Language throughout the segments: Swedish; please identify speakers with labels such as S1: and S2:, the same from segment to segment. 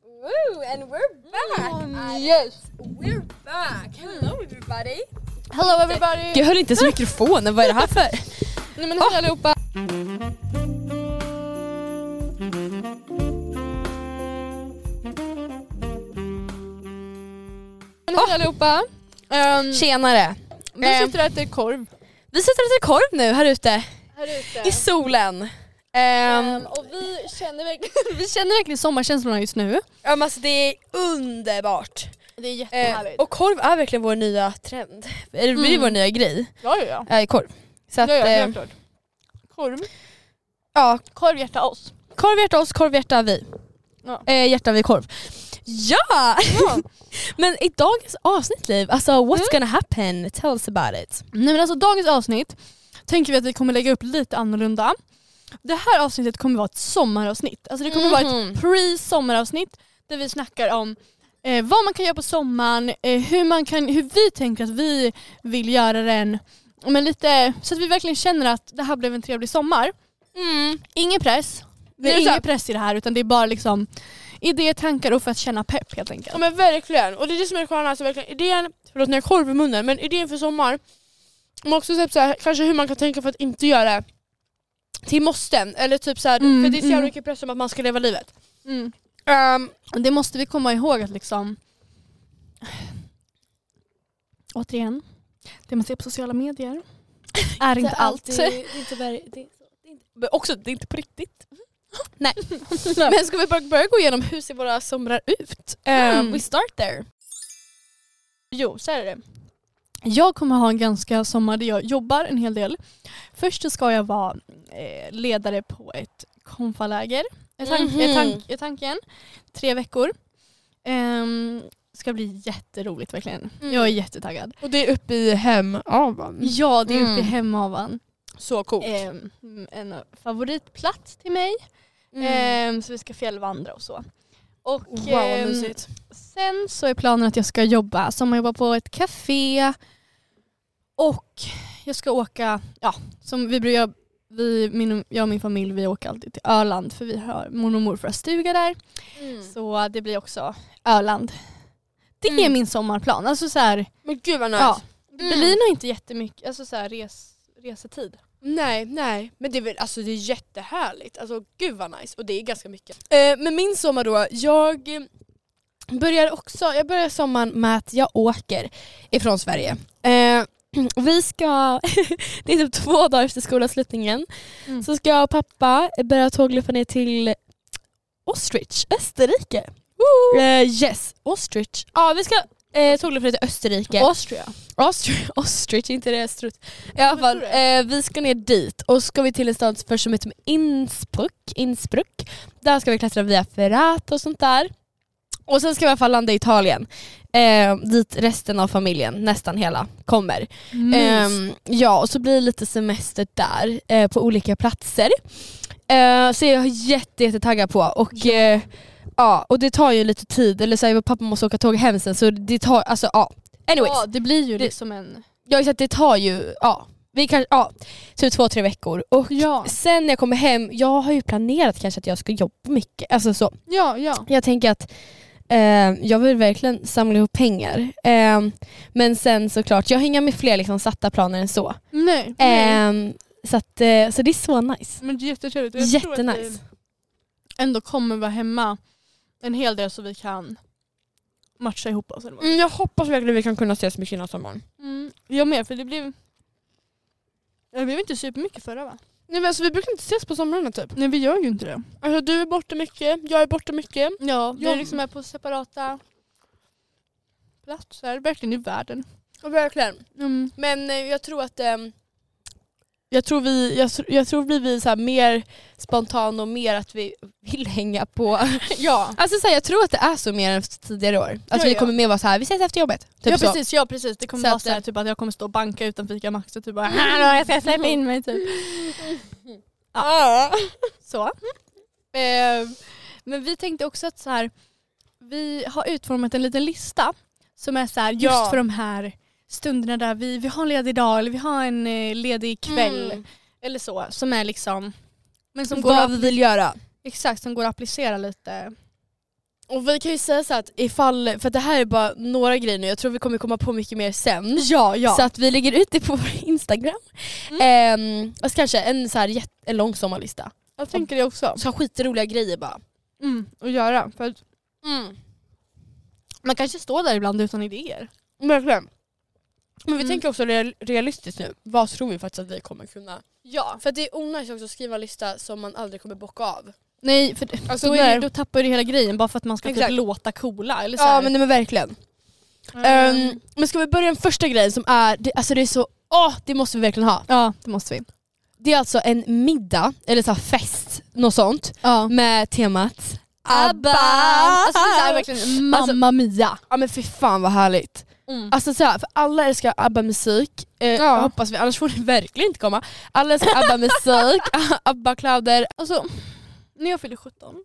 S1: Hello, and we're back!
S2: Mm,
S1: I-
S2: yes.
S1: We're back! Hello everybody!
S2: Hello everybody!
S3: Jag höll inte ens mikrofonen, vad är det här för? Ah.
S2: Nej men hej allihopa! Men hej allihopa! Ehm,
S3: Ah. Tjenare! Ehm.
S2: vi sitter och äter korv
S3: Vi sitter och äter korv nu här ute
S2: här ute.
S3: i solen.
S2: Ehm,
S3: Um,
S2: och vi känner, verkligen, vi känner verkligen sommarkänslorna just nu. Eh,
S3: alltså det är underbart.
S2: Det är
S3: Ehm, och korv är verkligen vår nya trend. Eller det blir
S2: Mm.
S3: vår nya grej,
S2: ja, ja, ja.
S3: äh, korv. Så att,
S2: ja, ja,
S3: eh,
S2: helt klart. Korv.
S3: ja,
S2: Korv hjärta oss.
S3: korv hjärta oss, korv hjärta vi.
S2: Ja.
S3: Eh, hjärta vi korv. Ja!
S2: Ja.
S3: Men i dagens avsnitt Liv, alltså what's gonna happen? Tell us about it.
S2: Nej men alltså dagens avsnitt tänker vi att vi kommer lägga upp lite annorlunda. Det här avsnittet kommer vara ett sommaravsnitt. Alltså det kommer vara
S3: Mhm.
S2: ett pre-sommaravsnitt där vi snackar om eh, vad man kan göra på sommaren, eh, hur, man kan, hur vi tänker att vi vill göra den. Men lite, så att vi verkligen känner att det här blev en trevlig sommar.
S4: Mm.
S2: Ingen press. Det
S3: Nej,
S2: är ingen
S3: exakt.
S2: press i det här utan det är bara liksom idéer, tankar och för att känna pepp helt enkelt.
S4: Ja men verkligen, och det är det som är det sköna, alltså, verkligen. idén, förlåt när jag har korv i munnen, men idén för sommar, men också typ, så här, kanske hur man kan tänka för att inte göra det till måsten, eller typ så här,
S2: Mm,
S4: för det är så jävla
S2: mm.
S4: mycket press om att man ska leva livet.
S2: Mm.
S4: Ehm,
S2: Och Det måste vi komma ihåg att liksom... Återigen, det man ser på sociala medier är inte allt.
S1: inte
S3: Också, det är inte på riktigt. Nej. Men ska vi bara börja gå igenom hur ser våra somrar ut?
S2: Mm.
S3: Um, we start there.
S2: Jo, så är det. Jag kommer ha en ganska sommar där jag jobbar en hel del. Först så ska jag vara eh, ledare på ett konfaläger. Är, tank, är, tank, är tanken. Tre veckor. Ehm, ska bli jätteroligt verkligen.
S4: Mm.
S2: Jag är jättetaggad.
S4: och det är uppe i Hemavan.
S2: Ja, det är uppe i
S3: Mm.
S2: Hemavan.
S4: Så coolt.
S2: Ehm, en favoritplats till mig.
S4: Mm. eh,
S2: Ehm, så vi ska fjällvandra och så. Och ehm, sen så är planen att jag ska jobba sommarjobba på ett café. Och jag ska åka, ja, som vi brukar, vi, min, jag och min familj vi åker alltid till Öland för vi har mormor och morfars stuga där. Så det blir också Öland. Det är
S4: Mm.
S2: min sommarplan. Alltså så här,
S4: Men gud vad nice.
S2: ja, det
S4: Mm.
S2: blir nog inte jättemycket alltså så här, res, resetid.
S4: Nej, nej. Men det är, väl, alltså, det är jättehärligt. Alltså, gud vad nice. Och det är ganska mycket. Eh, men min sommar då, jag eh, börjar också, jag börjar sommaren med att jag åker ifrån Sverige. Eh, vi ska, det är typ två dagar efter skolavslutningen,
S2: Mm.
S4: så ska jag och pappa börja tågluffa ner till Ostrich, Österrike. Eh, yes, Ostrich. Ja, vi ska eh, tågluffa ner till Österrike.
S2: Austria.
S4: Ostrich, ostrich inte det strut. I alla fall,
S2: tror
S4: eh, vi ska ner dit och ska vi till en stad först som heter Innsbruck, Innsbruck. Där ska vi klättra via Ferrat och sånt där. Och sen ska vi i alla fall landa i Italien. Eh, dit resten av familjen, nästan hela, kommer. Ehm, ja, och så blir det lite semester där eh, på olika platser. Eh, så jag är jätte, jättetaggad på. Och, eh, ja, och det tar ju lite tid, eller så här, pappa måste åka tåg hem sen så det tar, alltså ja. Anyways.
S2: Ja, det blir ju
S4: Det-
S2: liksom en...
S4: Ja exakt, det tar ju ja, vi kan, ja, typ två, tre veckor. Och
S2: Ja,
S4: sen när jag kommer hem, jag har ju planerat kanske att jag ska jobba mycket. Alltså så.
S2: ja, ja.
S4: Jag tänker att eh, jag vill verkligen samla ihop pengar. Eh, men sen såklart, jag har inga med fler liksom, satta planer än så.
S2: Nej.
S3: Ehm,
S4: Eh, så, att, eh, så det är så nice.
S2: Men det är jättetrevligt. Jag tror att vi
S4: Jättenice.
S2: ändå kommer vara hemma en hel del så vi kan matcha ihop oss. Eller vad.
S4: jag hoppas verkligen vi kan kunna ses mycket innan sommaren.
S2: Mm. Jag med, för det blev... Det blev inte supermycket förra va?
S4: Nej, men alltså, vi brukar inte ses på somrarna typ.
S2: Nej vi gör ju inte det.
S4: Alltså, du är borta mycket, jag är borta mycket.
S2: Ja, vi
S4: Jag-
S2: liksom är på separata platser, verkligen i världen.
S4: Verkligen.
S2: Mm.
S4: Men eh, jag tror att ehm, jag tror vi jag, tr- jag tror vi blir så här mer spontana och mer att vi vill hänga på.
S2: Ja.
S4: Alltså så här, jag tror att det är så mer än tidigare år. Att
S2: Ja,
S4: vi
S2: ja.
S4: kommer mer vara så här, vi ses efter jobbet. Typ
S2: ja
S4: så.
S2: precis, ja precis. Det kommer
S4: Så
S2: vara
S4: att-
S2: så här, typ att jag kommer stå och banka utan fika Max och typ bara Hallå jag ska släppa in mig typ. Ah.
S4: Ja.
S2: Så. Eh, men vi tänkte också att så här, vi har utformat en liten lista som är så här, just
S4: Ja.
S2: för de här stunderna där vi, vi har en ledig dag eller vi har en eh, ledig kväll
S4: Mm.
S2: eller så. Som är liksom, men som går,
S4: Vad
S2: att,
S4: vi vill göra.
S2: exakt, som går att applicera lite
S3: Och vi kan ju säga så att ifall, för det här är bara några grejer nu, jag tror vi kommer komma på mycket mer sen.
S2: Ja, ja.
S3: Så att vi lägger ut det på vår Instagram. Ehm, alltså kanske en så här jätte- en lång sommarlista.
S2: jag tänker det också.
S3: Så här skitroliga grejer bara.
S2: Mm, att göra. För att Mm. man kanske står där ibland utan idéer.
S3: Verkligen. Men vi
S2: Mm.
S3: tänker också real- realistiskt nu, vad tror vi faktiskt att vi kommer kunna?
S2: Ja.
S3: För att det är onajs också att skriva en lista som man aldrig kommer bocka av.
S2: Nej, för
S3: Alltså,
S2: då,
S3: när-
S2: är, det- då tappar du hela grejen bara för att man ska typ
S3: Exakt.
S2: låta coola. Eller så
S3: Ja
S2: här.
S3: men, nej, men verkligen.
S2: Ehm,
S3: Ehm, men ska vi börja med första grejen som är, det, alltså det är så, åh det måste vi verkligen ha.
S2: ja, det måste vi.
S3: Det är alltså en middag, eller så här fest, något sånt,
S2: Ja.
S3: med temat
S2: ABBA! Alltså det är verkligen Mamma Mia.
S3: Ja men för fan vad härligt.
S2: Mm.
S3: Alltså så här, för alla älskar ABBA-musik, eh,
S2: Ja.
S3: jag hoppas vi, annars får ni verkligen inte komma. Alla älskar ABBA-musik, ABBA-kläder.
S2: Alltså, när jag fyllde 17,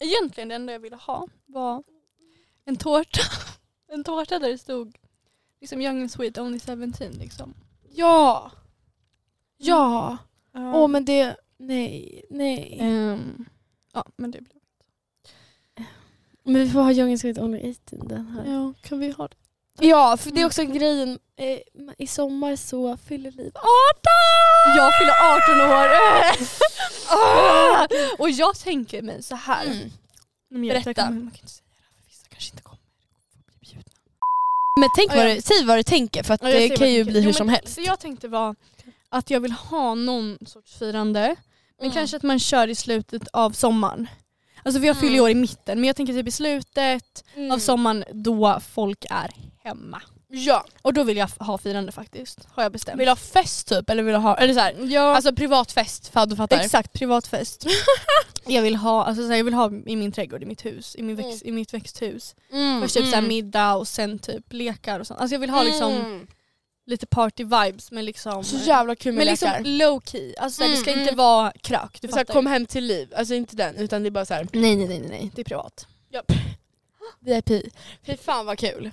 S2: egentligen det enda jag ville ha var en tårta. En tårta där det stod liksom young and sweet, only 17 liksom.
S3: Ja! Ja!
S2: Mm. Ja.
S3: Åh men det, nej, nej.
S2: Ehm, ja, men det blev...
S3: Men vi får ha Young and Sweet Only 18 den här.
S2: Ja, kan vi ha det?
S3: Ja, för det är också grejen. Eh, I sommar så fyller liv 18!
S2: Jag fyller 18 år! Ah! Och jag tänker mig så här.
S3: Mm.
S2: Men jag-
S3: Berätta.
S2: Man kan inte säga det här för vissa kanske inte kommer bli bjudna.
S3: Men tänk
S2: Ja,
S3: vad
S2: ja.
S3: du, säg vad du tänker för att
S2: Ja, jag
S3: det
S2: ser
S3: kan
S2: vad
S3: ju
S2: du
S3: bli
S2: tänker.
S3: hur
S2: Jo,
S3: som
S2: men
S3: helst.
S2: Det jag tänkte var att jag vill ha någon sorts firande. Men
S3: Mm.
S2: kanske att man kör i slutet av sommaren. Alltså för jag
S3: Mm.
S2: fyller ju år i mitten men jag tänker typ i slutet av sommaren då folk är hemma.
S3: Ja.
S2: Och då vill jag f- ha firande faktiskt. Har jag bestämt.
S3: Vill du ha fest typ? Eller vill du ha, eller så här,
S2: ja,
S3: alltså privat fest för att du fattar.
S2: exakt, privatfest. jag, vill ha, alltså, så här, jag vill ha i min trädgård, i mitt hus, i, min växt, i mitt växthus.
S3: Mm,
S2: Först typ så här,
S3: mm.
S2: middag och sen typ lekar och sånt. Alltså jag vill ha liksom
S3: Mm.
S2: lite party vibes men liksom...
S3: Så jävla kul med
S2: Men liksom
S3: lekar.
S2: low key, alltså, såhär, det
S3: Mm,
S2: ska inte
S3: mm.
S2: vara krök. Du
S3: Så här,
S2: fattar.
S3: kom hem till liv, alltså inte den utan det är bara så här
S2: Nej, nej nej nej, det är privat.
S3: VIP. Fy fan vad kul.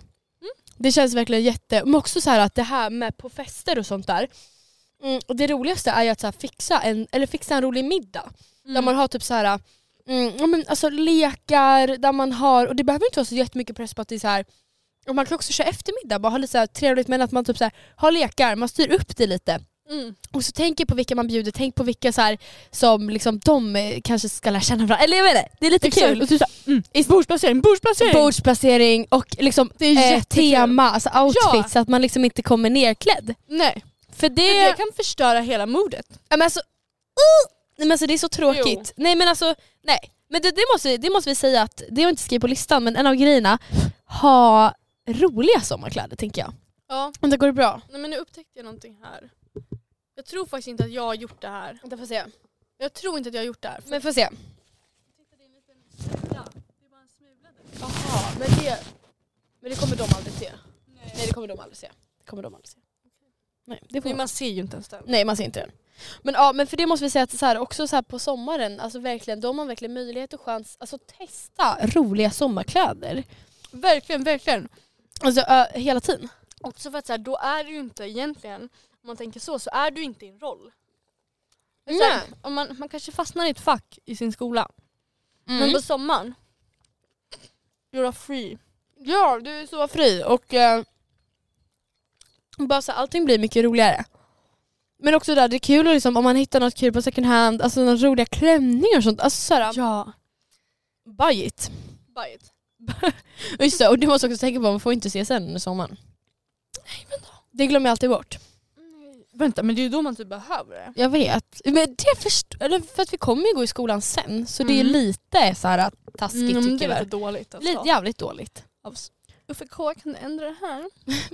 S3: Det känns verkligen jätte, men också så här att det här med på fester och sånt där. Mm, och det roligaste är ju att så här fixa, en, eller fixa en rolig middag. Där man har typ så här, mm, ja, men alltså lekar, där man har, och det behöver inte vara så jättemycket press på att det är så här. Och man kan också köra eftermiddag, bara ha lite så här trevligt men att man typ så här, har lekar, man styr upp det lite.
S2: Mm.
S3: Och så tänker på vilka man bjuder, tänk på vilka så här, som liksom de eh, kanske ska lära känna varandra. Eller jag vet inte, det är lite
S2: Exakt.
S3: kul. Och typ så här,
S2: Bordsplacering, bordsplacering!
S3: bordsplacering och liksom
S2: Det är
S3: eh,
S2: jättekul.
S3: tema, alltså outfit
S2: Ja.
S3: så att man liksom inte kommer nerklädd.
S2: Nej,
S3: För det,
S2: det kan förstöra hela modet.
S3: Ja, men alltså, uh! nej, men alltså det är så tråkigt. Nej men alltså, nej. Men det, det, måste, det måste vi säga att, det har vi inte skrivit på listan men en av grejerna, ha roliga sommarkläder tänker jag.
S2: Ja,
S3: Om det går bra.
S2: nej, men nu upptäckte jag någonting här. Jag tror faktiskt inte att jag har gjort det här.
S3: Vänta får se.
S2: Jag tror inte att jag har gjort det här.
S3: Men får se. Jaha, men det, men det kommer de aldrig se. Nej. det kommer de aldrig se. Det kommer de aldrig se. Nej, det får
S2: Nej, man ser ju inte ens den.
S3: Nej man ser inte den. Men ja, men för det måste vi säga att så här, också så här på sommaren, alltså verkligen, då har man verkligen möjlighet och chans alltså testa roliga sommarkläder.
S2: Verkligen, verkligen.
S3: Alltså ö, hela tiden.
S2: Också för att så här, då är du ju inte egentligen, om man tänker så, så är du inte i en roll. Men så här, om man, man kanske fastnar i ett fack i sin skola.
S3: Mm.
S2: Men på sommaren, you're free.
S3: ja, du är så fri och eh, bara så här, allting blir mycket roligare. Men också där, det är kul att liksom, om man hittar något kul på second hand, alltså några roliga klänningar och sånt. Alltså såhär,
S2: Ja.
S3: buy it.
S2: Buy it.
S3: Och Just det, och det måste jag också tänka på, man får inte se sen under sommaren. Det glömmer jag alltid bort.
S2: Vänta men det är ju då man typ behöver det.
S3: Jag vet. Men det först- eller för att vi kommer ju gå i skolan sen så det är
S2: Mm.
S3: lite så här
S4: Mm,
S3: taskigt
S2: det
S3: tycker
S2: är lite
S3: jag.
S2: dåligt alltså.
S3: Lite jävligt dåligt.
S2: Uffe K kan du ändra det här?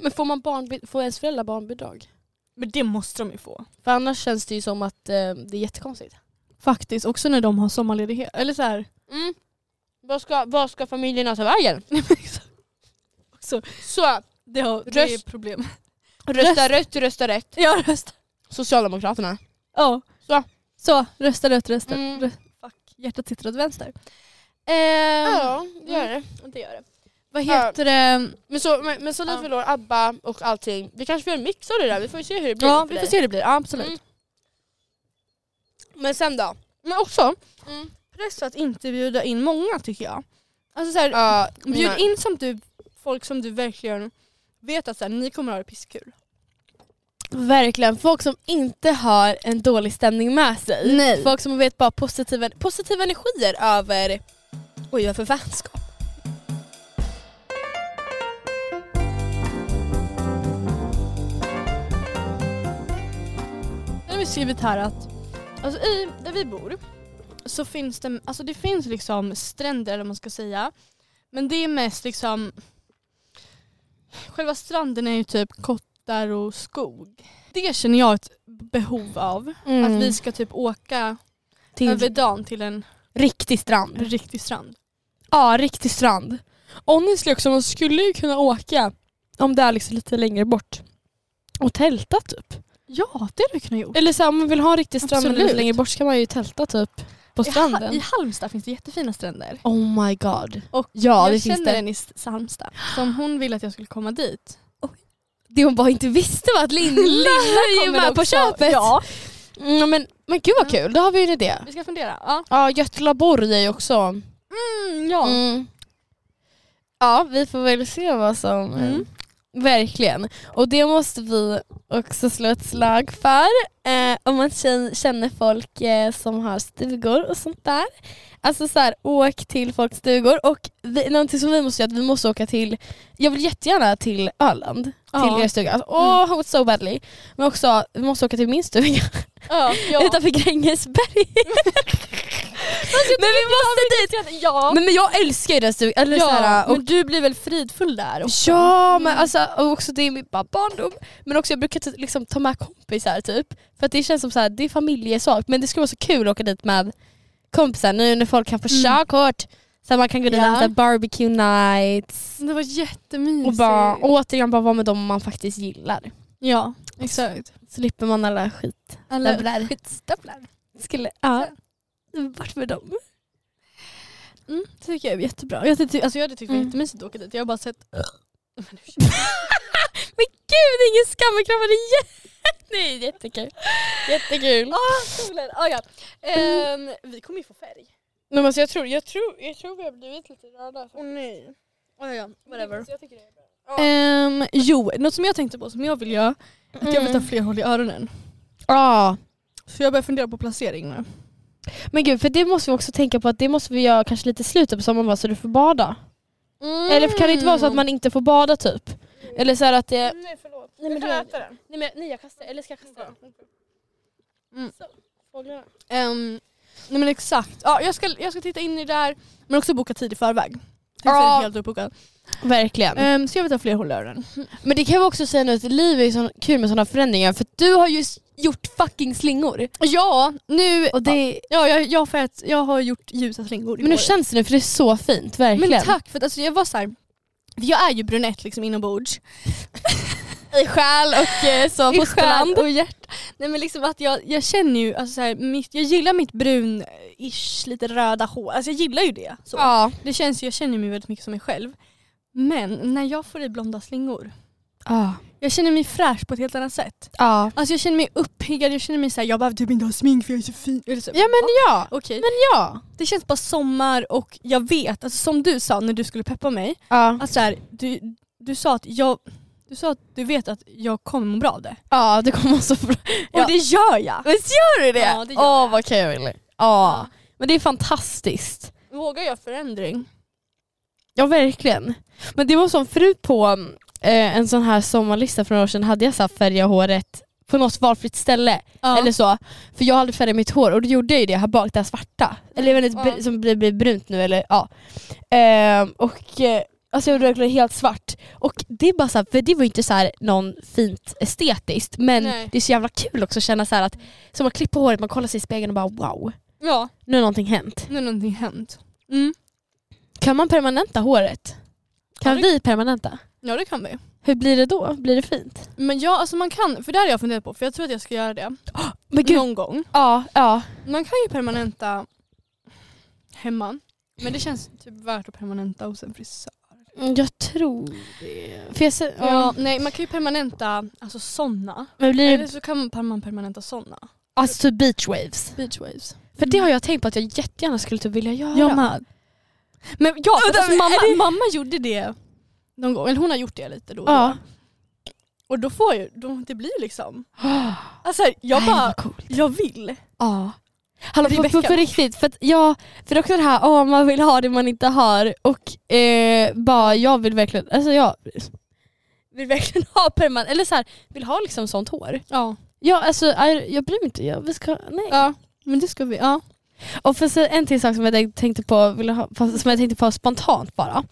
S3: Men får, man barnbi- får ens föräldrar barnbidrag?
S2: Men det måste de ju få.
S3: För annars känns det ju som att eh, det är jättekonstigt.
S2: Faktiskt, också när de har sommarledighet. Eller så här.
S3: Mm. Vad ska, vad ska familjerna ta vägen? Så
S2: det, har,
S3: det är
S2: är problem.
S3: rösta rätt, rösta rätt.
S2: Jag röstar.
S3: Socialdemokraterna.
S2: Ja.
S3: Så.
S2: Så, rösta rätt, rösta.
S3: Mm.
S2: rö- Fuck. Hjärtat sitter åt vänster.
S3: Ja, det gör det.
S2: Det gör det. Vad
S3: Ja.
S2: heter det?
S3: Mm. Men så, men, men så
S2: Ja.
S3: vi lår ABBA och allting. Vi kanske får göra en mix av det där, vi får ju se hur det blir.
S2: Ja,
S3: för
S2: vi
S3: dig.
S2: får se hur det blir. Ja, absolut.
S3: Mm. Men sen då?
S2: Men också,
S3: Mm.
S2: Mm. press att inte bjuda in många tycker jag. Alltså så här,
S3: Ja,
S2: bjud
S3: nej.
S2: in som du, folk som du verkligen vet att så här, ni kommer ha det pisskul.
S4: Verkligen. Folk som inte har en dålig stämning med sig.
S2: Nej.
S4: Folk som vet bara positiva, positiva energier över... Oj, vad för vänskap.
S2: Sen har vi skrivit här att alltså, i, där vi bor så finns det, alltså, det finns liksom stränder eller vad man ska säga. Men det är mest liksom själva stranden är ju typ kottar och skog. Det känner jag ett behov av.
S3: Mm.
S4: Mm.
S2: Att vi ska typ åka
S4: till
S2: över dagen till en
S4: riktig strand.
S2: riktig strand.
S4: Ja, riktig strand. Honestly också, man skulle ju kunna åka om det är liksom lite längre bort. Och tälta typ.
S2: Ja, det hade vi kunnat gjort.
S4: Eller så här, om man vill ha en riktig strand men lite
S2: Absolut.
S4: längre bort så kan man ju tälta typ på stranden.
S2: I, Ha- I Halmstad finns det jättefina stränder.
S4: Oh my god.
S2: Och
S4: ja, det finns
S2: jag känner
S4: det.
S2: en i S- Halmstad som hon ville att jag skulle komma dit.
S4: Det hon bara inte visste var att Linda är ju
S2: kommer
S4: med på
S2: också.
S4: köpet.
S2: Ja.
S4: Mm, men, men gud vad kul, då har vi ju en idé.
S2: Vi ska fundera. Ja,
S4: Ja, Göteborg är ju också...
S2: ja.
S4: Mm. Ja, vi får väl se vad som... eh,
S2: Mm.
S4: Verkligen. Och det måste vi också slå ett slag för. Eh, om man kän- känner folk eh, som har stugor och sånt där. Alltså så här, åk till folks stugor. Och vi, någonting som vi måste göra, att vi måste åka till... Jag vill jättegärna till Öland.
S2: Ja.
S4: Till er stuga. Alltså, oh, mm. so badly. Men också, vi måste åka till min stuga
S2: Ja, ja.
S4: utanför Grängesberg.
S2: alltså,
S4: men vi måste dit!
S2: ja.
S4: Men, men jag älskar ju den stugan. Eller
S2: ja,
S4: såhär, och-
S2: men du blir väl fridfull där? också? Mm.
S4: Ja, men alltså och också det är min bara barndom. Men också jag brukar t- liksom ta med kompisar typ. För att det känns som så här, det är familjesak. Men det skulle vara så kul att åka dit med kompisar nu när folk kan få
S2: Mm.
S4: körkort. Så att man kan gå dit
S2: Ja.
S4: och ha barbecue nights.
S2: Det var jättemysigt.
S4: Och bara, återigen bara vara med dem man faktiskt gillar.
S2: Ja,
S4: Alltså,
S2: exakt.
S4: Slipper man alla skit.
S2: Alla
S4: Stövlar.
S2: skitstövlar.
S4: Skulle, alltså, ja. Bort med dem.
S2: Mm, det tycker jag är jättebra. Jag, tyckte, alltså, jag hade tyckt det var
S4: Mm.
S2: jättemysigt att åka dit. Jag har bara sett... Men ursäkta.
S4: Men gud, det är ingen skam att krama. Det är, jä- Nej, det är jättekul. Jättekul.
S2: Solen, ah, ja. Ehm, vi kommer ju få färg.
S4: Men alltså jag tror, jag tror, jag tror vi har blivit lite röda.
S2: Åh nej. Ah, ja, ja, whatever.
S4: Jag tycker det är bra.
S2: Ehm, jo, något som jag tänkte på som jag vill göra, att jag vill ta fler hål i öronen.
S4: Mm. Ja.
S2: Så jag börjar fundera på placering nu.
S4: Men gud, för det måste vi också tänka på att det måste vi göra kanske lite i slutet på sommaren bara så du får bada. Eller kan det inte vara så att man inte får bada typ? Eller så här att det...
S2: Nej förlåt,
S4: Nej, men du-
S2: den.
S4: Mm. Nej, men, nej jag kastar, eller ska jag kasta den?
S2: Mm.
S4: Så, fåglarna.
S2: Ehm, nej men exakt, ja, jag, ska, jag ska titta in i det här men också boka tid i förväg. Tills
S4: Ja.
S2: jag är helt uppbokad.
S4: Verkligen.
S2: Ehm, så jag vill ta fler hål i öronen.
S4: Men det kan vi också säga nu att livet är så kul med sådana förändringar för du har ju gjort fucking slingor.
S2: Ja, nu...
S4: Och det,
S2: Ja, jag, jag, har färgat- jag har gjort ljusa slingor i
S4: men hur
S2: håret.
S4: känns det nu? För det är så fint, verkligen.
S2: Men tack för att alltså, jag var så här. för Jag är ju brunett liksom inombords.
S4: i själ och eh, så
S2: I
S4: på
S2: själ
S4: strand.
S2: och hjärta. Nej men liksom att jag, jag känner ju, alltså, så här, mitt, jag gillar mitt brun-ish, lite röda hår. Alltså jag gillar ju det. Så.
S4: Ja.
S2: Det känns ju, jag känner mig väldigt mycket som mig själv. Men när jag får i blonda slingor,
S4: Ja.
S2: jag känner mig fräsch på ett helt annat sätt.
S4: Ja.
S2: Alltså jag känner mig uppiggad, jag känner mig såhär, jag behöver typ inte ha smink för jag är så fin. Eller så,
S4: Ja men
S2: va?
S4: ja.
S2: Okej,
S4: Ja.
S2: det känns bara sommar och jag vet, alltså som du sa när du skulle peppa mig,
S4: Ja.
S2: att så här, du, du sa att jag du sa att du vet att jag kommer må bra av det.
S4: ja, det kommer vara så bra.
S2: Och
S4: Ja.
S2: det gör jag!
S4: Visst gör du det?
S2: Ja, det gör
S4: Åh
S2: jag.
S4: vad kul. Ja. Men det är fantastiskt.
S2: Vågar jag förändring?
S4: Ja verkligen. Men det var som förut på eh, en sån här sommarlista för några år sedan hade jag så här färga håret på något valfritt ställe.
S2: Ja.
S4: Eller så. För jag hade färgat mitt hår och då gjorde jag ju det här bak, det här svarta. Eller jag vet inte,
S2: Ja.
S4: br- som blir, blir brunt nu eller ja. Ehm, och eh, alltså jag gjorde verkligen helt svart. Och det är bara så här, för det var ju inte så här någon fint estetiskt men
S2: Nej.
S4: det är så jävla kul också att känna så här att som man klipper håret, man kollar sig i spegeln och bara wow,
S2: ja,
S4: nu har någonting hänt.
S2: nu har någonting hänt. Mm.
S4: Kan man permanenta håret? Kan
S2: Ja,
S4: vi permanenta?
S2: Ja det kan vi.
S4: Hur blir det då? Blir det fint?
S2: Men ja, alltså man kan, för det har jag funderat på, för jag tror att jag ska göra det
S4: Men
S2: någon gång.
S4: ja, ja.
S2: Man kan ju permanenta hemma. Men det känns typ värt att permanenta hos en frisör.
S4: Mm, Jag tror det. För jag ser, ja.
S2: Ja, nej, man kan ju permanenta alltså sådana.
S4: Men blir
S2: Eller
S4: det
S2: så kan man- man permanenta sådana.
S4: alltså typ beach waves?
S2: Beach waves.
S4: För det har jag tänkt på att jag jättegärna skulle typ vilja göra.
S2: med. Men ja, för
S4: Vänta,
S2: alltså,
S4: men
S2: mamma,
S4: är
S2: mamma gjorde det någon gång, eller hon har gjort det lite då och
S4: Ja.
S2: då. Och då får ju, då, det blir ju liksom, alltså jag
S4: Nej, vad
S2: bara,
S4: coolt.
S2: jag vill.
S4: Ja. Hallå på, på,
S2: Rebecca.
S4: på riktigt, för att jag, för det är också det här, åh man vill ha det man inte har och eh, bara jag vill verkligen, alltså jag vill verkligen ha permanent, eller så här, vill ha liksom sånt hår.
S2: Ja.
S4: Ja alltså jag, jag bryr mig inte, jag, vi ska, nej.
S2: ja, men det ska vi, ja.
S4: Och för sen, en till sak som jag tänkte på, vill ha, fast- som jag tänkte på spontant bara.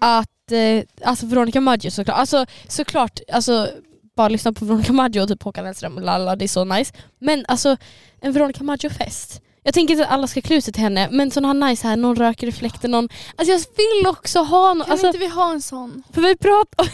S4: Att, eh, alltså Veronica Maggio såklart, alltså såklart, alltså bara lyssna på Veronica Maggio och typ Håkan Hellström och lalla, det är så nice. Men alltså en Veronica Maggio-fest. Jag tänker inte att alla ska klä ut sig till henne, men sån här nice här, någon röker i fläkten, någon... Alltså jag vill också ha någon,
S2: Kan
S4: alltså,
S2: inte vi ha en sån?
S4: för vi pratar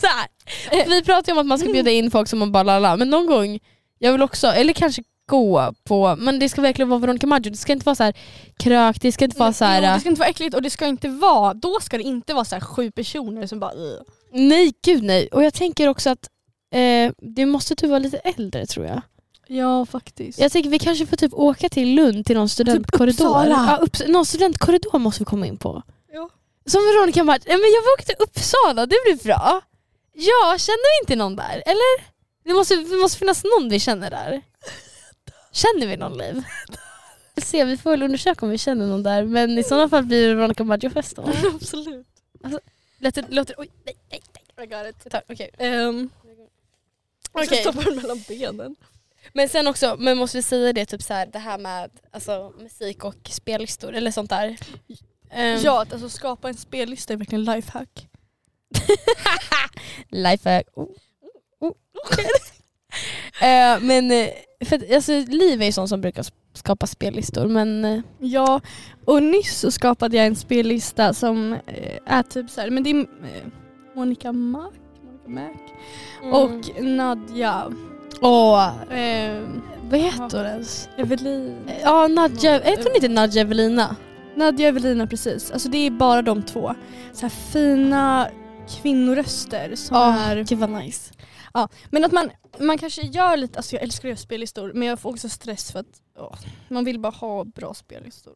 S4: så här. Vi pratar ju om att man ska bjuda in folk som man bara lalla, men någon gång, jag vill också, eller kanske gå på, men det ska verkligen vara Veronica Maggio, det ska inte vara så här krök, det ska inte vara så
S2: jo,
S4: här. eh,
S2: det ska inte vara äckligt och det ska inte vara, då ska det inte vara så här sju personer som bara "Ugh."
S4: nej gud nej. Och jag tänker också att eh, det måste typ vara lite äldre tror jag.
S2: Ja faktiskt.
S4: Jag tänker vi kanske får typ åka till Lund till någon studentkorridor.
S2: Uppsala.
S4: ja, upps någon studentkorridor måste vi komma in på.
S2: Ja.
S4: Som Veronica Maggio, nej men jag vill åka till Uppsala, det blir bra. Ja, känner vi inte någon där? Eller? Det måste, det måste finnas någon vi känner där. Känner vi någon Liv? Vi får Se, vi får väl undersöka om vi känner någon där men i sådana fall blir det Veronica Maggio-fest då.
S2: Absolut.
S4: Låter, låter, oj, nej, nej,
S2: I got it.
S4: nej. Okej.
S2: Um,
S4: Okej.
S2: Stoppa den mellan benen.
S4: Men sen också, men måste vi säga det, typ så här, det här med alltså, musik och spellistor eller sånt där. Ehm,
S2: Ja, att alltså skapa en spellista är verkligen lifehack.
S4: Lifehack. Oh. Oh. Eh, men eh, för att, alltså, Liv är ju sån som brukar s- skapa spellistor men eh,
S2: Ja, och nyss så skapade jag en spellista som eh, är typ så här, men det är eh, Monica Mac, Monica Mac Mm.
S4: och
S2: och Nadja
S4: åh,
S2: eh,
S4: vad heter hon ens?
S2: Evelin.
S4: Eh, Ja Nadja, heter hon inte Nadja Evelina?
S2: Nadja Evelina precis, alltså det är bara de två. Så här fina kvinnoröster som
S4: Åh,
S2: är...
S4: Gud vad nice.
S2: Men att man, man kanske gör lite, alltså jag älskar att göra spellistor men jag får också stress för att åh, man vill bara ha bra spellistor.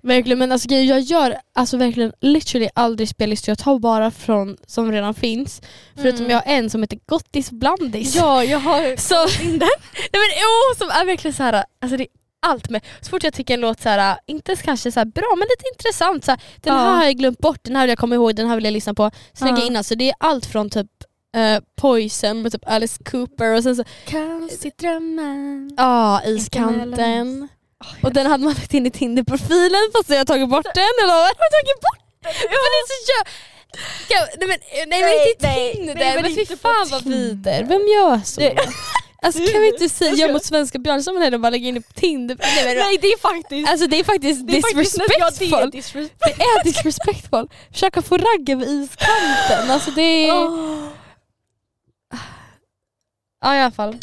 S4: Verkligen men alltså grejen, jag gör alltså verkligen literally aldrig spellistor, jag tar bara från som redan finns. Förutom jag har en som heter Gottis Blandis.
S2: Ja, jag har...
S4: Så, nej men oh, som är verkligen så här, alltså det är allt med. Så fort jag tycker en låt så här, inte kanske så här bra men lite intressant. Så här, den
S2: Ja.
S4: här har jag glömt bort, den här vill jag komma ihåg, den här vill jag lyssna på. Så lägger jag
S2: Ja.
S4: in alltså, det är allt från typ eh, Poison med typ Alice Cooper och sen så,
S2: Kaos i drömmen.
S4: ja
S2: Kanten.
S4: Iskanten. Och den hade man lagt in i Tinder-profilen fast jag har tagit bort den. Eller vad? har jag tagit bort den? Men det är så jä- Ja, nej men, nej, men
S1: Nej,
S4: inte
S1: nej,
S4: Tinder,
S1: nej, men
S4: men fy
S1: inte på
S4: fan vad vider. Vem gör så? Alltså kan vi inte säga gör mot svenska Björnsson men bara lägga in det på Tinder? Nej, men,
S2: Nej det är faktiskt...
S4: Alltså det är faktiskt
S2: det är faktiskt när jag- det är
S4: disrespectful.
S2: disrespect.
S4: Det är disrespectful. Försöka få ragg över iskanten. Alltså det är... Ja i alla fall.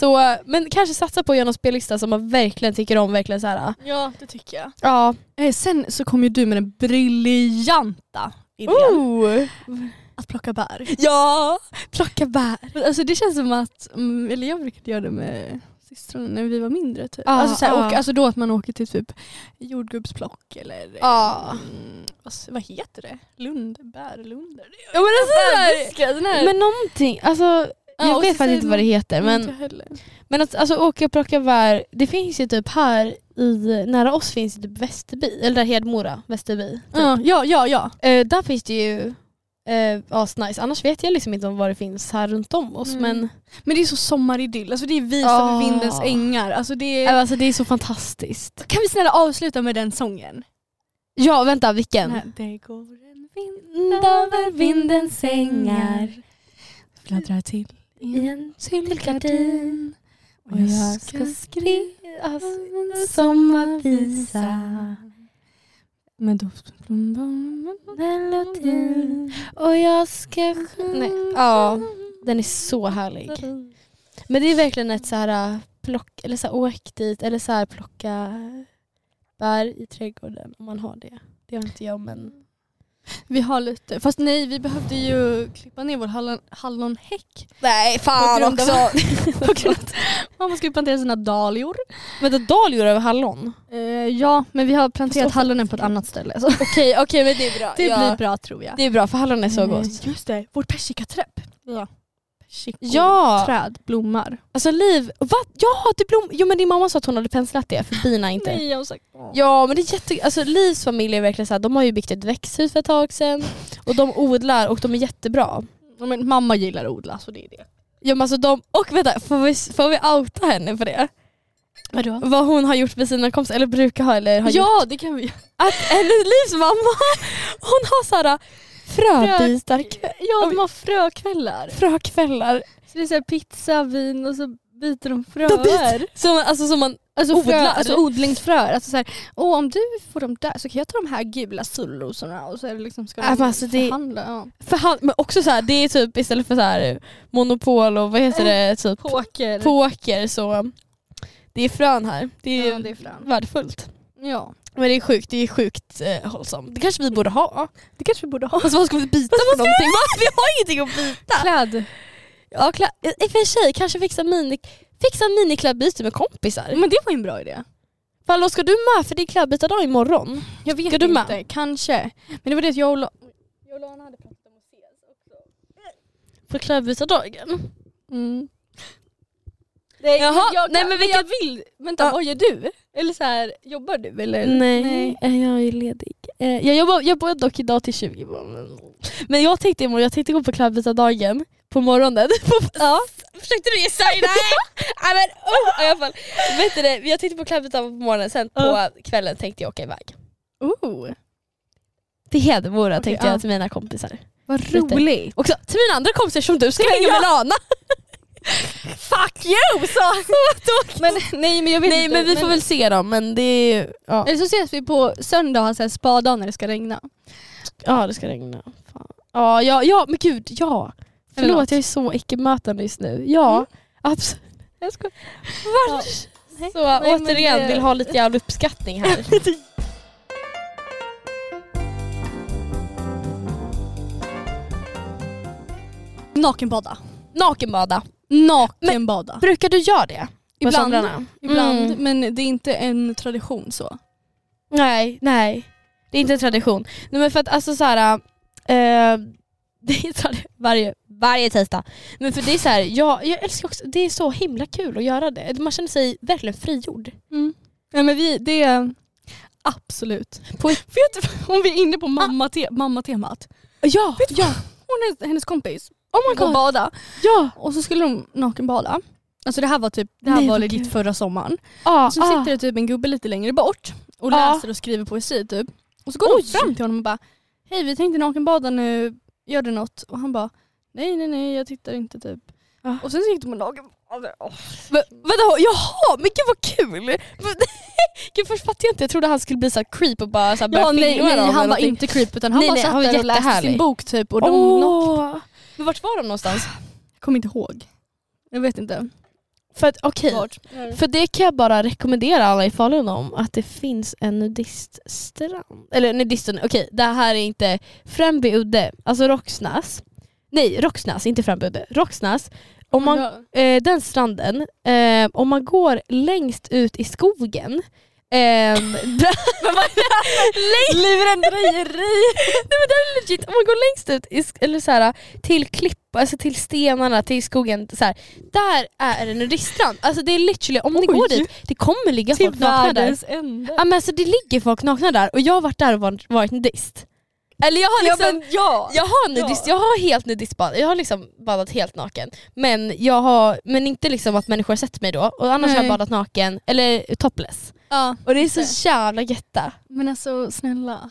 S4: Så, men kanske satsa på att göra någon spellista som man verkligen tycker om. Verkligen så här.
S2: Ja det tycker jag.
S4: Ja.
S2: Eh, sen så kom ju du med den briljanta idén
S4: Oh.
S2: att plocka bär.
S4: Ja! Plocka bär.
S2: Alltså det känns som att, mm, eller jag brukade göra det med systrarna när vi var mindre typ.
S4: Ja,
S2: alltså, såhär,
S4: ja.
S2: och, alltså då att man åker till typ jordgubbsplock eller
S4: Ja.
S2: mm, vad, s- vad heter det? Lund, bärlunder?
S4: Ja, men alltså, så här,
S2: här-
S4: men någonting, alltså, jag
S2: Typ. och
S4: vet faktiskt
S2: så säger Mm, typ.
S4: inte vad det heter. Men, men att, alltså, åka och plocka bär, det finns ju typ här i, nära oss finns det typ Västerby, eller där Hedmora, Västerby. Typ.
S2: Ja, ja, ja, ja.
S4: Eh, där finns det ju eh, asnice, annars vet jag liksom inte om vad det finns här runt om oss.
S2: Mm.
S4: Men
S2: Men det är så sommaridyll, alltså det är visa
S4: Ja.
S2: vid vindens ängar. Alltså det
S4: eh,
S2: är...
S4: alltså, det är så fantastiskt.
S2: Kan vi snälla avsluta med den sången?
S4: Ja, vänta, vilken?
S2: Nej, Det går en vind
S4: Vind över vindens sängar
S2: fladdrar till
S4: i en
S2: Mm.
S4: tyllgardin
S2: och jag ska
S4: skriva
S2: en
S4: sommarvisa
S2: med doftblommor
S4: Melodin och jag ska... Nej. Ja, den är så härlig. Men det är verkligen ett så här äh, plock, eller så här, åk dit eller så här plocka bär i trädgården om man har det. Det har inte jag men
S2: Vi har lite, fast nej vi behövde ju klippa ner vår hallon, hallonhäck.
S4: Nej
S2: fan
S4: också.
S2: på grund av att Man måste ju plantera sina dahlior.
S4: Vänta dahlior över hallon?
S2: Eh, ja men vi har planterat hallonen på ett annat ställe. Så
S4: Okej okej men det är bra.
S2: det
S4: Ja.
S2: blir bra tror jag.
S4: det är bra för hallon är så
S2: Eh,
S4: gott.
S2: Just det, vårt persikaträpp. Ja.
S4: Ja!
S2: Träd blommar.
S4: Alltså Liv, va? Ja, det blom... Jo men din mamma sa att hon hade penslat det för bina inte.
S2: Nej jag har sagt ja.
S4: Ja men det är jätte... Alltså Livs familj är verkligen såhär, de har ju byggt ett växthus för ett tag sedan och de odlar och de är jättebra.
S2: Men mamma gillar att odla så det är det.
S4: Ja men alltså de... Och vänta, får vi, får vi outa henne för det?
S2: Vadå?
S4: Vad hon har gjort med sina kompisar, eller brukar ha eller har gjort.
S2: Ja det kan vi
S4: Att hennes Livs mamma, hon har såhär fröbitar,
S2: Ja de har frökvällar.
S4: frökvällar.
S2: Så det är så här pizza, vin och så byter de
S4: byter-
S2: fröer.
S4: Som, alltså som man...
S2: Alltså, frö,
S4: Odlar.
S2: alltså odlingsfröer. Alltså så här, Åh, om du får de där så kan jag ta de här gula solrosorna och så är det liksom ska
S4: Äh, men
S2: de
S4: alltså det-
S2: förhandla. Ja.
S4: För han, men också så här, det är typ istället för så här monopol och vad heter
S2: Mm.
S4: det? Typ,
S2: Poker.
S4: poker så det är frön här. Det är,
S2: Ja, det är frön.
S4: värdefullt.
S2: Ja.
S4: Men det är sjukt, det är sjukt eh, hållsamt. Det kanske vi borde ha.
S2: Det kanske vi borde ha.
S4: Alltså vad ska vi byta för någonting? Va? Vi har ingenting att byta.
S2: Kläd.
S4: Ja, kla- I och för sig, kanske fixa, mini- fixa miniklädbyte med kompisar.
S2: Men det var ju en bra idé.
S4: Hallå ska du med? För det är klädbytardag imorgon.
S2: Jag vet
S4: Ska du
S2: inte,
S4: med?
S2: kanske. Men det var det att jag och, La- jag och Lana hade pratat om att ses också.
S4: På klädbytardagen.
S2: Mm. Nej,
S4: Jaha,
S2: jag,
S4: nej,
S2: nej
S4: men
S2: men
S4: vilket-
S2: jag vill. Vänta,
S4: Ja.
S2: vad gör du? Eller så här, jobbar du? Eller?
S4: Nej, eh, jag är ledig. Eh, Jag jobbar, jag jobbar dock idag till 20. Men jag tänkte imorgon, jag tänkte gå på klädbytardagen på morgonen. På- Försökte du ge sig? Nej! Nej men oh, i alla fall. Vet du det, jag tänkte på klädbytardagen på morgonen, sen på
S2: Ja.
S4: kvällen tänkte jag åka iväg.
S2: Oh,
S4: Till Hedemora tänkte
S2: ja.
S4: jag till mina kompisar.
S2: vad
S4: Lite.
S2: roligt.
S4: Och så, till mina andra kompisar som du ska hänga med Lana. Fuck you! Så.
S2: Men, nej men jag vet
S4: Nej
S2: inte.
S4: men vi får väl se dem men det är ju- ja.
S2: Eller så ses vi på söndag och har så här spadag när det ska regna.
S4: Ja det ska regna. Fan. Ja, ja, ja men gud ja. Förlåt
S2: Eller
S4: Mm.
S2: något.
S4: jag är så icke-mötande just nu. Ja absolut.
S2: Jag skojar.
S4: Vars?
S2: Nej.
S4: Så
S2: Nej, men
S4: återigen,
S2: det-
S4: vill ha lite jävla uppskattning här.
S2: Nakenbada.
S4: Nakenbada.
S2: Nakenbada.
S4: Brukar du göra det? På
S2: Ibland.
S4: somrarna?
S2: Ibland,
S4: Mm.
S2: men det är inte en tradition så.
S4: Nej, nej. Det är inte en tradition. Nej men för att alltså såhär, eh, det är tradi- varje, varje tisdag. Men för det är såhär, jag, jag älskar också, det är så himla kul att göra det. Man känner sig verkligen frigjord.
S2: Nej Mm. men vi, det är absolut. Vet du, vad- om vi är inne på mamma-te- mamma-temat.
S4: Ah. Ja,
S2: ja. Hon och hennes kompis oh my God. bada
S4: ja.
S2: och så skulle de nakenbada. Alltså det här var typ det här
S4: Nej,
S2: var
S4: vad
S2: legit
S4: kul.
S2: förra sommaren.
S4: Ah,
S2: Så sitter det typ en gubbe lite längre bort och
S4: Ja.
S2: läser och skriver poesi typ. Och så går de
S4: Oj.
S2: fram till honom och bara Hej vi tänkte nakenbada nu, gör det något? Och han bara Nej nej nej jag tittar inte typ.
S4: Ja.
S2: Och sen så gick de och nakenbadade. Åh,
S4: V- Vänta, jaha, men gud vad kul! Gud, först fattade jag inte, jag trodde han skulle bli så här creep och bara så här börja
S2: Ja, nej,
S4: filma
S2: nej
S4: dem
S2: han
S4: eller
S2: var
S4: någonting.
S2: inte creep utan typ- han
S4: Nej,
S2: bara
S4: nej,
S2: satt
S4: han var
S2: där och läste sin
S4: jättehärlig.
S2: bok typ. Och de nak-
S4: Åh. Men vart var de någonstans?
S2: Jag kommer inte ihåg. Jag vet inte.
S4: För att, okej,
S2: Vart?
S4: för det kan jag bara rekommendera alla i Falun om, att det finns en nudiststrand. Eller nudisten, okej, det här är inte Främby udde, alltså Roxnäs. Nej, Roxnäs, inte Främby udde. Roxnäs. Om man eh, den stranden, eh, om man går längst ut i skogen ehm, där- Lurendrejeri! Nej men det här är legit, om man går längst ut i, sk- eller så här, till klippa, alltså till stenarna, till skogen, så här, där är en nudiststrand. Alltså det är literally, om ni
S2: Oj.
S4: går dit, det kommer ligga folk nakna där.
S2: ände.
S4: Ja, men alltså, det ligger folk nakna där och jag har varit där och varit, varit nudist. Eller jag har
S2: Ja
S4: liksom
S2: men ja!
S4: jag har nudist, jag har helt nudistbad, jag har liksom badat helt naken. Men, jag har, men inte liksom att människor har sett mig då, och annars har
S2: Nej.
S4: jag badat naken, eller topless.
S2: ja.
S4: Och det är så jävla getta.
S2: Men alltså snälla.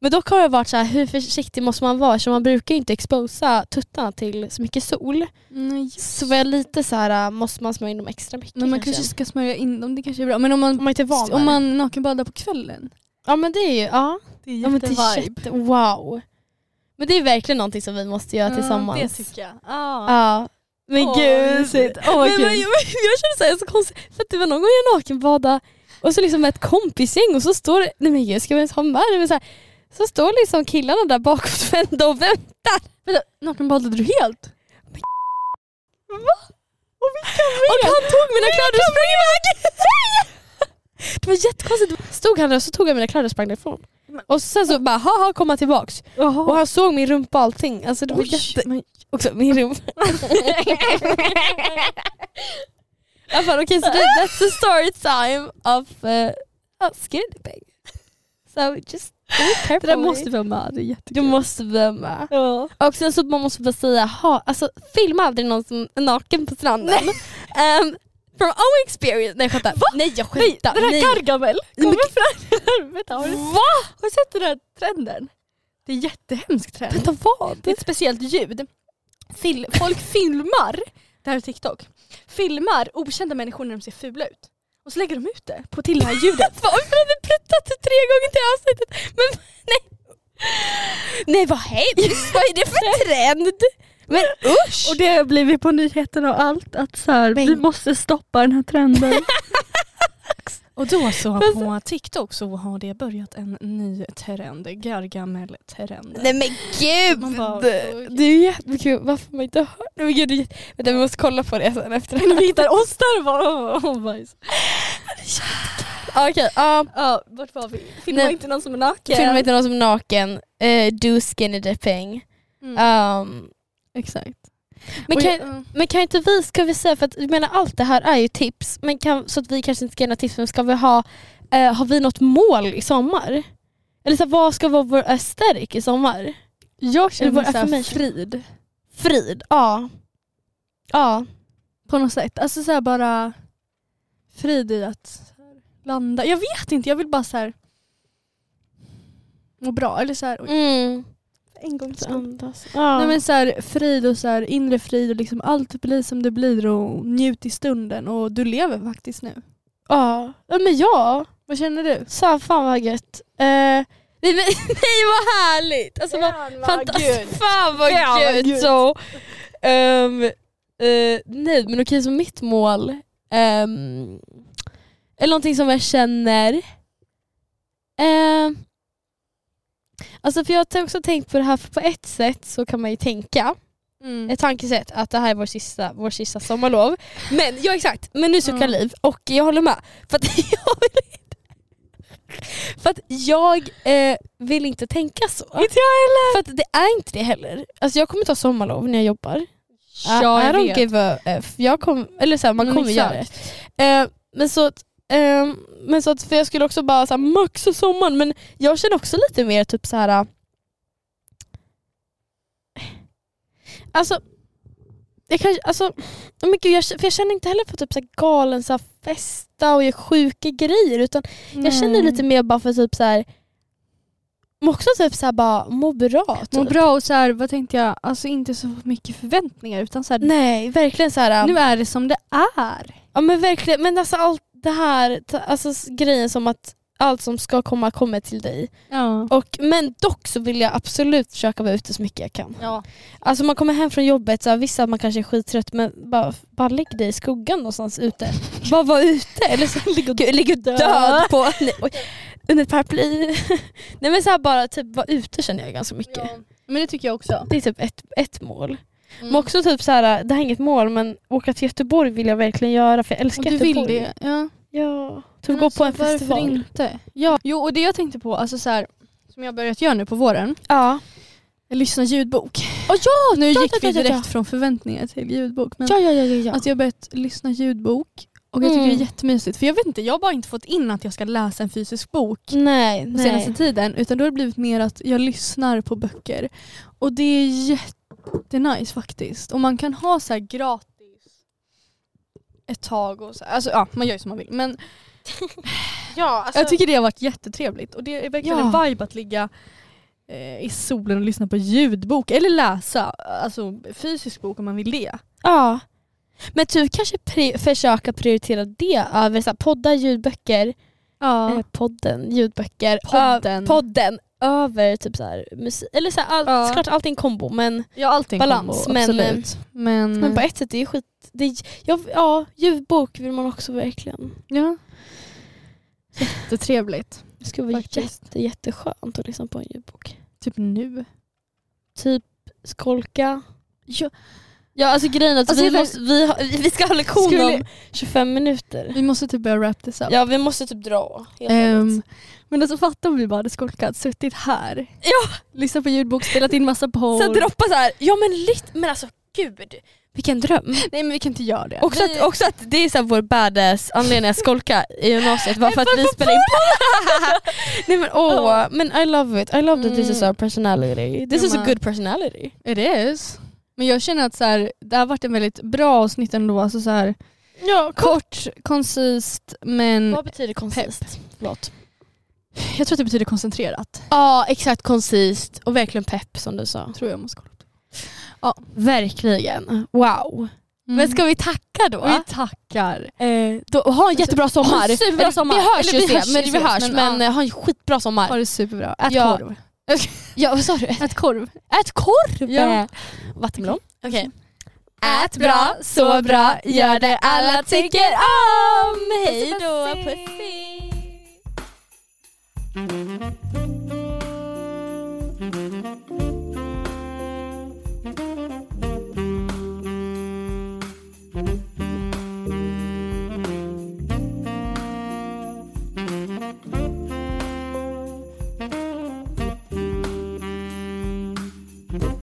S4: Men dock har jag varit så här, hur försiktig måste man vara? Så man brukar ju inte exposa tuttarna till så mycket sol.
S2: Nej,
S4: Så var jag lite så här, äh, måste man smörja in dem extra mycket
S2: Men man kanske Mm, ska smörja in dem, det kanske är bra. Men om man,
S4: Om man inte är van
S2: om
S4: vid det.
S2: man nakenbadar på kvällen.
S4: Ja men det är ju, ja.
S2: Det är
S4: ja men det är jätte, wow. Men det är verkligen någonting som vi måste göra tillsammans.
S2: Det tycker jag. Ah.
S4: Ja. Men
S2: Åh,
S4: gud.
S2: vad
S4: mysigt.
S2: mysigt.
S4: Åh, vad
S2: Men
S4: kul.
S2: vad-
S4: jag känner såhär, så konstigt. För att det var någon gång jag nakenbadade och så liksom med ett kompisgäng och så står det, nej men gud ska vi ens ha med det? Men så här, Så står liksom killarna där bakåtvända och väntar.
S2: Nakenbadade du helt?
S4: Och han tog mina kläder och sprang iväg! Det var jättekonstigt. Stod han där och så tog jag mina kläder och sprang därifrån. Och sen så bara haha kom han tillbaks. Och
S2: Jaha.
S4: han såg min rumpa och allting. Alltså det var jätte...
S2: men,
S4: Också min rumpa. I alla fall okej så det, that's the story time of uh, skinny pig. So just be careful.
S2: det där måste vara med, det är jättekul.
S4: du måste vara med.
S2: Ja.
S4: Och sen så man måste bara säga, ha, alltså, filma aldrig någon som är naken på stranden. Ehm, from our experience. Nej jag skämtar. Nej jag
S2: Nej,
S4: skämtar.
S2: det där
S4: Nej.
S2: Gargamel
S4: Nej, men-
S2: kommer fram i helvete. Har du,
S4: Va?
S2: har du sett den där trenden? Det är en jättehemsk trend.
S4: Vänta vad?
S2: Det är ett speciellt ljud. Fil- folk filmar, det här är TikTok, filmar okända människor när de ser fula ut. Och så lägger de ut det på till det här ljudet.
S4: Varför har vi pruttat det tre gånger till avsnittet? Men nej. Nej vad hemskt. vad är det för trend? Men usch.
S2: Och det har blivit på nyheterna och allt att så här,
S4: Men-
S2: vi måste stoppa den här trenden. och då så
S4: Men
S2: på TikTok så har det börjat en ny trend, Gargamel-trenden.
S4: Nej men gud!
S2: Man bara, oj.
S4: det är jättekul, varför har man inte hört det? Men gud, det är jätte- Vänta vi måste kolla på det sen efter det
S2: När vi
S4: här.
S2: hittar oss där och bara oh, oh, bajs.
S4: Okej, ja.
S2: Ja, vart var vi? Filma
S4: Nej.
S2: inte någon som är naken.
S4: filma inte någon som är naken, Eh, do skinny dipping.
S2: Mm.
S4: Um,
S2: Exakt.
S4: men,
S2: Och
S4: kan,
S2: jag- mm.
S4: men kan inte vi, ska vi säga, för att jag menar allt det här är ju tips, men kan, så att vi kanske inte ska ge några tips, men ska vi ha, eh, har vi något mål i sommar? Eller så här, vad ska vara vår aesthetic i sommar?
S2: jag känner
S4: Eller
S2: mig
S4: vår
S2: så här
S4: affirmation.
S2: frid
S4: Frid, ja. Ja,
S2: på något sätt. Alltså så här bara frid i att så här landa. Jag vet inte, jag vill bara så här må bra. Eller så här, oj,
S4: mm.
S2: en gång
S4: Så
S2: till.
S4: andas. Ja.
S2: Nej men så här, frid och så här, inre frid och liksom allt blir som det blir och njut i stunden och du lever faktiskt nu.
S4: Ja, ja men ja.
S2: Vad känner du?
S4: Så här, fan vad gött. Eh, nej, men, nej vad härligt! Alltså, vad, fantastiskt. Fan vad
S2: Fan, vad
S4: gött!
S2: gött.
S4: Så, ehm, eh, nej men okej så mitt mål ehm, är någonting som jag känner Ehm, Alltså för jag har också tänkt på det här, för på ett sätt så kan man ju tänka
S2: Mm.
S4: ett tankesätt att det här är vår sista, vår sista sommarlov. Men ja exakt, men nu suckar
S2: Mm.
S4: Liv och jag håller med. För att jag vill inte, för att jag, eh, vill inte tänka så. Inte jag heller! För att det är inte det heller. Alltså jag kommer ta sommarlov när jag jobbar. I, I don't give a eh, F. Jag kom, eller så här, man
S2: Men
S4: kommer göra det.
S2: Mm, exakt.
S4: Eh, men så att, eh, men så att, för jag skulle också bara så här, maxa sommaren men jag känner också lite mer typ så här. eh, Alltså, jag kanske, alltså, oh men gud, jag, k- för jag känner inte heller för typ så här galen så här, festa och göra sjuka grejer utan jag känner
S2: Mm.
S4: lite mer bara för typ så här. men Också typ så här bara må bra. Typ.
S2: Må bra och så här, vad tänkte jag, alltså inte så mycket förväntningar utan så här,
S4: Nej, verkligen så här. eh,
S2: nu är det som det är.
S4: Ja men verkligen, men alltså allt det här, ta- alltså s- grejen som att allt som ska komma kommer till dig.
S2: Ja.
S4: Och, men dock så vill jag absolut försöka vara ute så mycket jag kan.
S2: Ja.
S4: Alltså man kommer hem från jobbet, så här, vissa man kanske är skittrött men bara, bara lägg dig i skuggan någonstans ute. bara vara ute eller så ligg och, ligg och död på, nej, oj, under ett paraply. nej men så här, bara typ vara ute känner jag ganska mycket.
S2: Men det tycker jag också.
S4: Det är typ ett, ett mål.
S2: Mm.
S4: Men också typ så här, det här är inget mål men åka till Göteborg vill jag verkligen göra för jag älskar
S2: Och du
S4: Göteborg.
S2: vill det. Ja.
S4: Ja. Typ
S2: Men
S4: gå på en
S2: alltså, varför
S4: festival.
S2: inte? Ja. Jo, och det jag tänkte på, alltså så här, som jag börjat göra nu på våren,
S4: Ja.
S2: jag lyssnar ljudbok.
S4: Oh, ja,
S2: Nu
S4: ja,
S2: gick
S4: ja,
S2: vi
S4: ja, ja,
S2: direkt
S4: ja.
S2: från förväntningar till ljudbok. Men
S4: Ja, ja, ja, ja.
S2: Alltså jag har börjat lyssna ljudbok och jag tycker
S4: Mm.
S2: det är jättemysigt. För jag vet inte, jag har bara inte fått in att jag ska läsa en fysisk bok
S4: nej,
S2: på
S4: nej.
S2: senaste tiden. Utan då har det blivit mer att jag lyssnar på böcker. Och det är jättenice faktiskt. Och man kan ha så här gratis ett tag. Och så. Alltså ja, man gör ju som man vill. Men
S3: Ja, alltså,
S2: jag tycker det har varit jättetrevligt. Och det är verkligen
S4: Ja.
S2: en vibe att ligga eh, i solen och lyssna på ljudbok. Eller läsa, alltså fysisk bok om man vill det.
S4: Ja. Men typ kanske pri- försöka prioritera det över så här, poddar, ljudböcker,
S2: Ja.
S4: eh, podden, ljudböcker,
S2: Podden.
S4: ö- podden över typ så här, musik. Eller så här, all-
S2: Ja.
S4: såklart allt är en kombo Mm. men,
S2: Ja allting
S4: Balans,
S2: kombo,
S4: men- eh,
S2: absolut. eh, Men,
S4: men på ett sätt det är ju skit... Det är, ja, ja, ljudbok vill man också verkligen.
S2: ja. Jättetrevligt.
S4: Det skulle vara
S2: Faktiskt.
S4: jätte, jätteskönt att lyssna på en ljudbok.
S2: Typ nu.
S4: Typ skolka.
S2: Ja.
S4: Ja alltså grejen är att
S2: Alltså,
S4: vi,
S2: jag-
S4: måste, vi, har, vi ska ha lektion
S2: Skulle-
S4: om 25 minuter.
S2: Vi måste typ börja wrap this up.
S4: Ja vi måste typ dra. helt
S2: Ehm,
S4: enkelt.
S2: men alltså fatta om vi bara hade skolkat, suttit här, lyssnat på ljudbok, spelat in massa podd.
S3: Sen droppa så här. ja men lite, men alltså gud.
S4: Vilken dröm.
S2: Nej men vi kan inte göra det.
S4: Också att, också att det är så här vår badass anledning att skolka i gymnasiet var för att vi spelar in Nej men åh, men I love it. I love that this is
S2: Mm.
S4: our personality. This
S2: Jag
S4: is a
S2: med.
S4: good personality.
S2: It is. Men jag känner att så här, det har varit en väldigt bra avsnitt ändå. Alltså så här,
S4: Ja,
S2: kort, koncist, men
S4: Vad betyder koncist? Förlåt.
S2: jag tror att det betyder koncentrerat.
S4: Ja exakt, koncist och verkligen pepp som du sa.
S2: Tror jag måste kolla upp.
S4: Verkligen, wow. Men ska Mm. vi tacka då?
S2: vi tackar.
S4: Eh, då ha en jättebra sommar.
S2: en superbra
S4: Eller,
S2: sommar.
S4: Vi hörs
S2: Eller
S4: ju
S2: vi
S4: sen,
S2: hörs ju
S4: men, vi
S2: ses,
S4: hörs,
S2: men,
S4: men
S2: ja.
S4: eh, ha en skitbra
S2: Ha
S4: sommar.
S2: det superbra. Ät
S4: Ja.
S2: korv.
S4: Ja, vad sa du?
S2: Ät korv.
S4: Ät korv!
S2: Ja.
S4: Vattenmelon. Okej.
S1: Ät bra,
S4: så bra, gör det alla tycker om. Hej
S1: Hej då, pussy.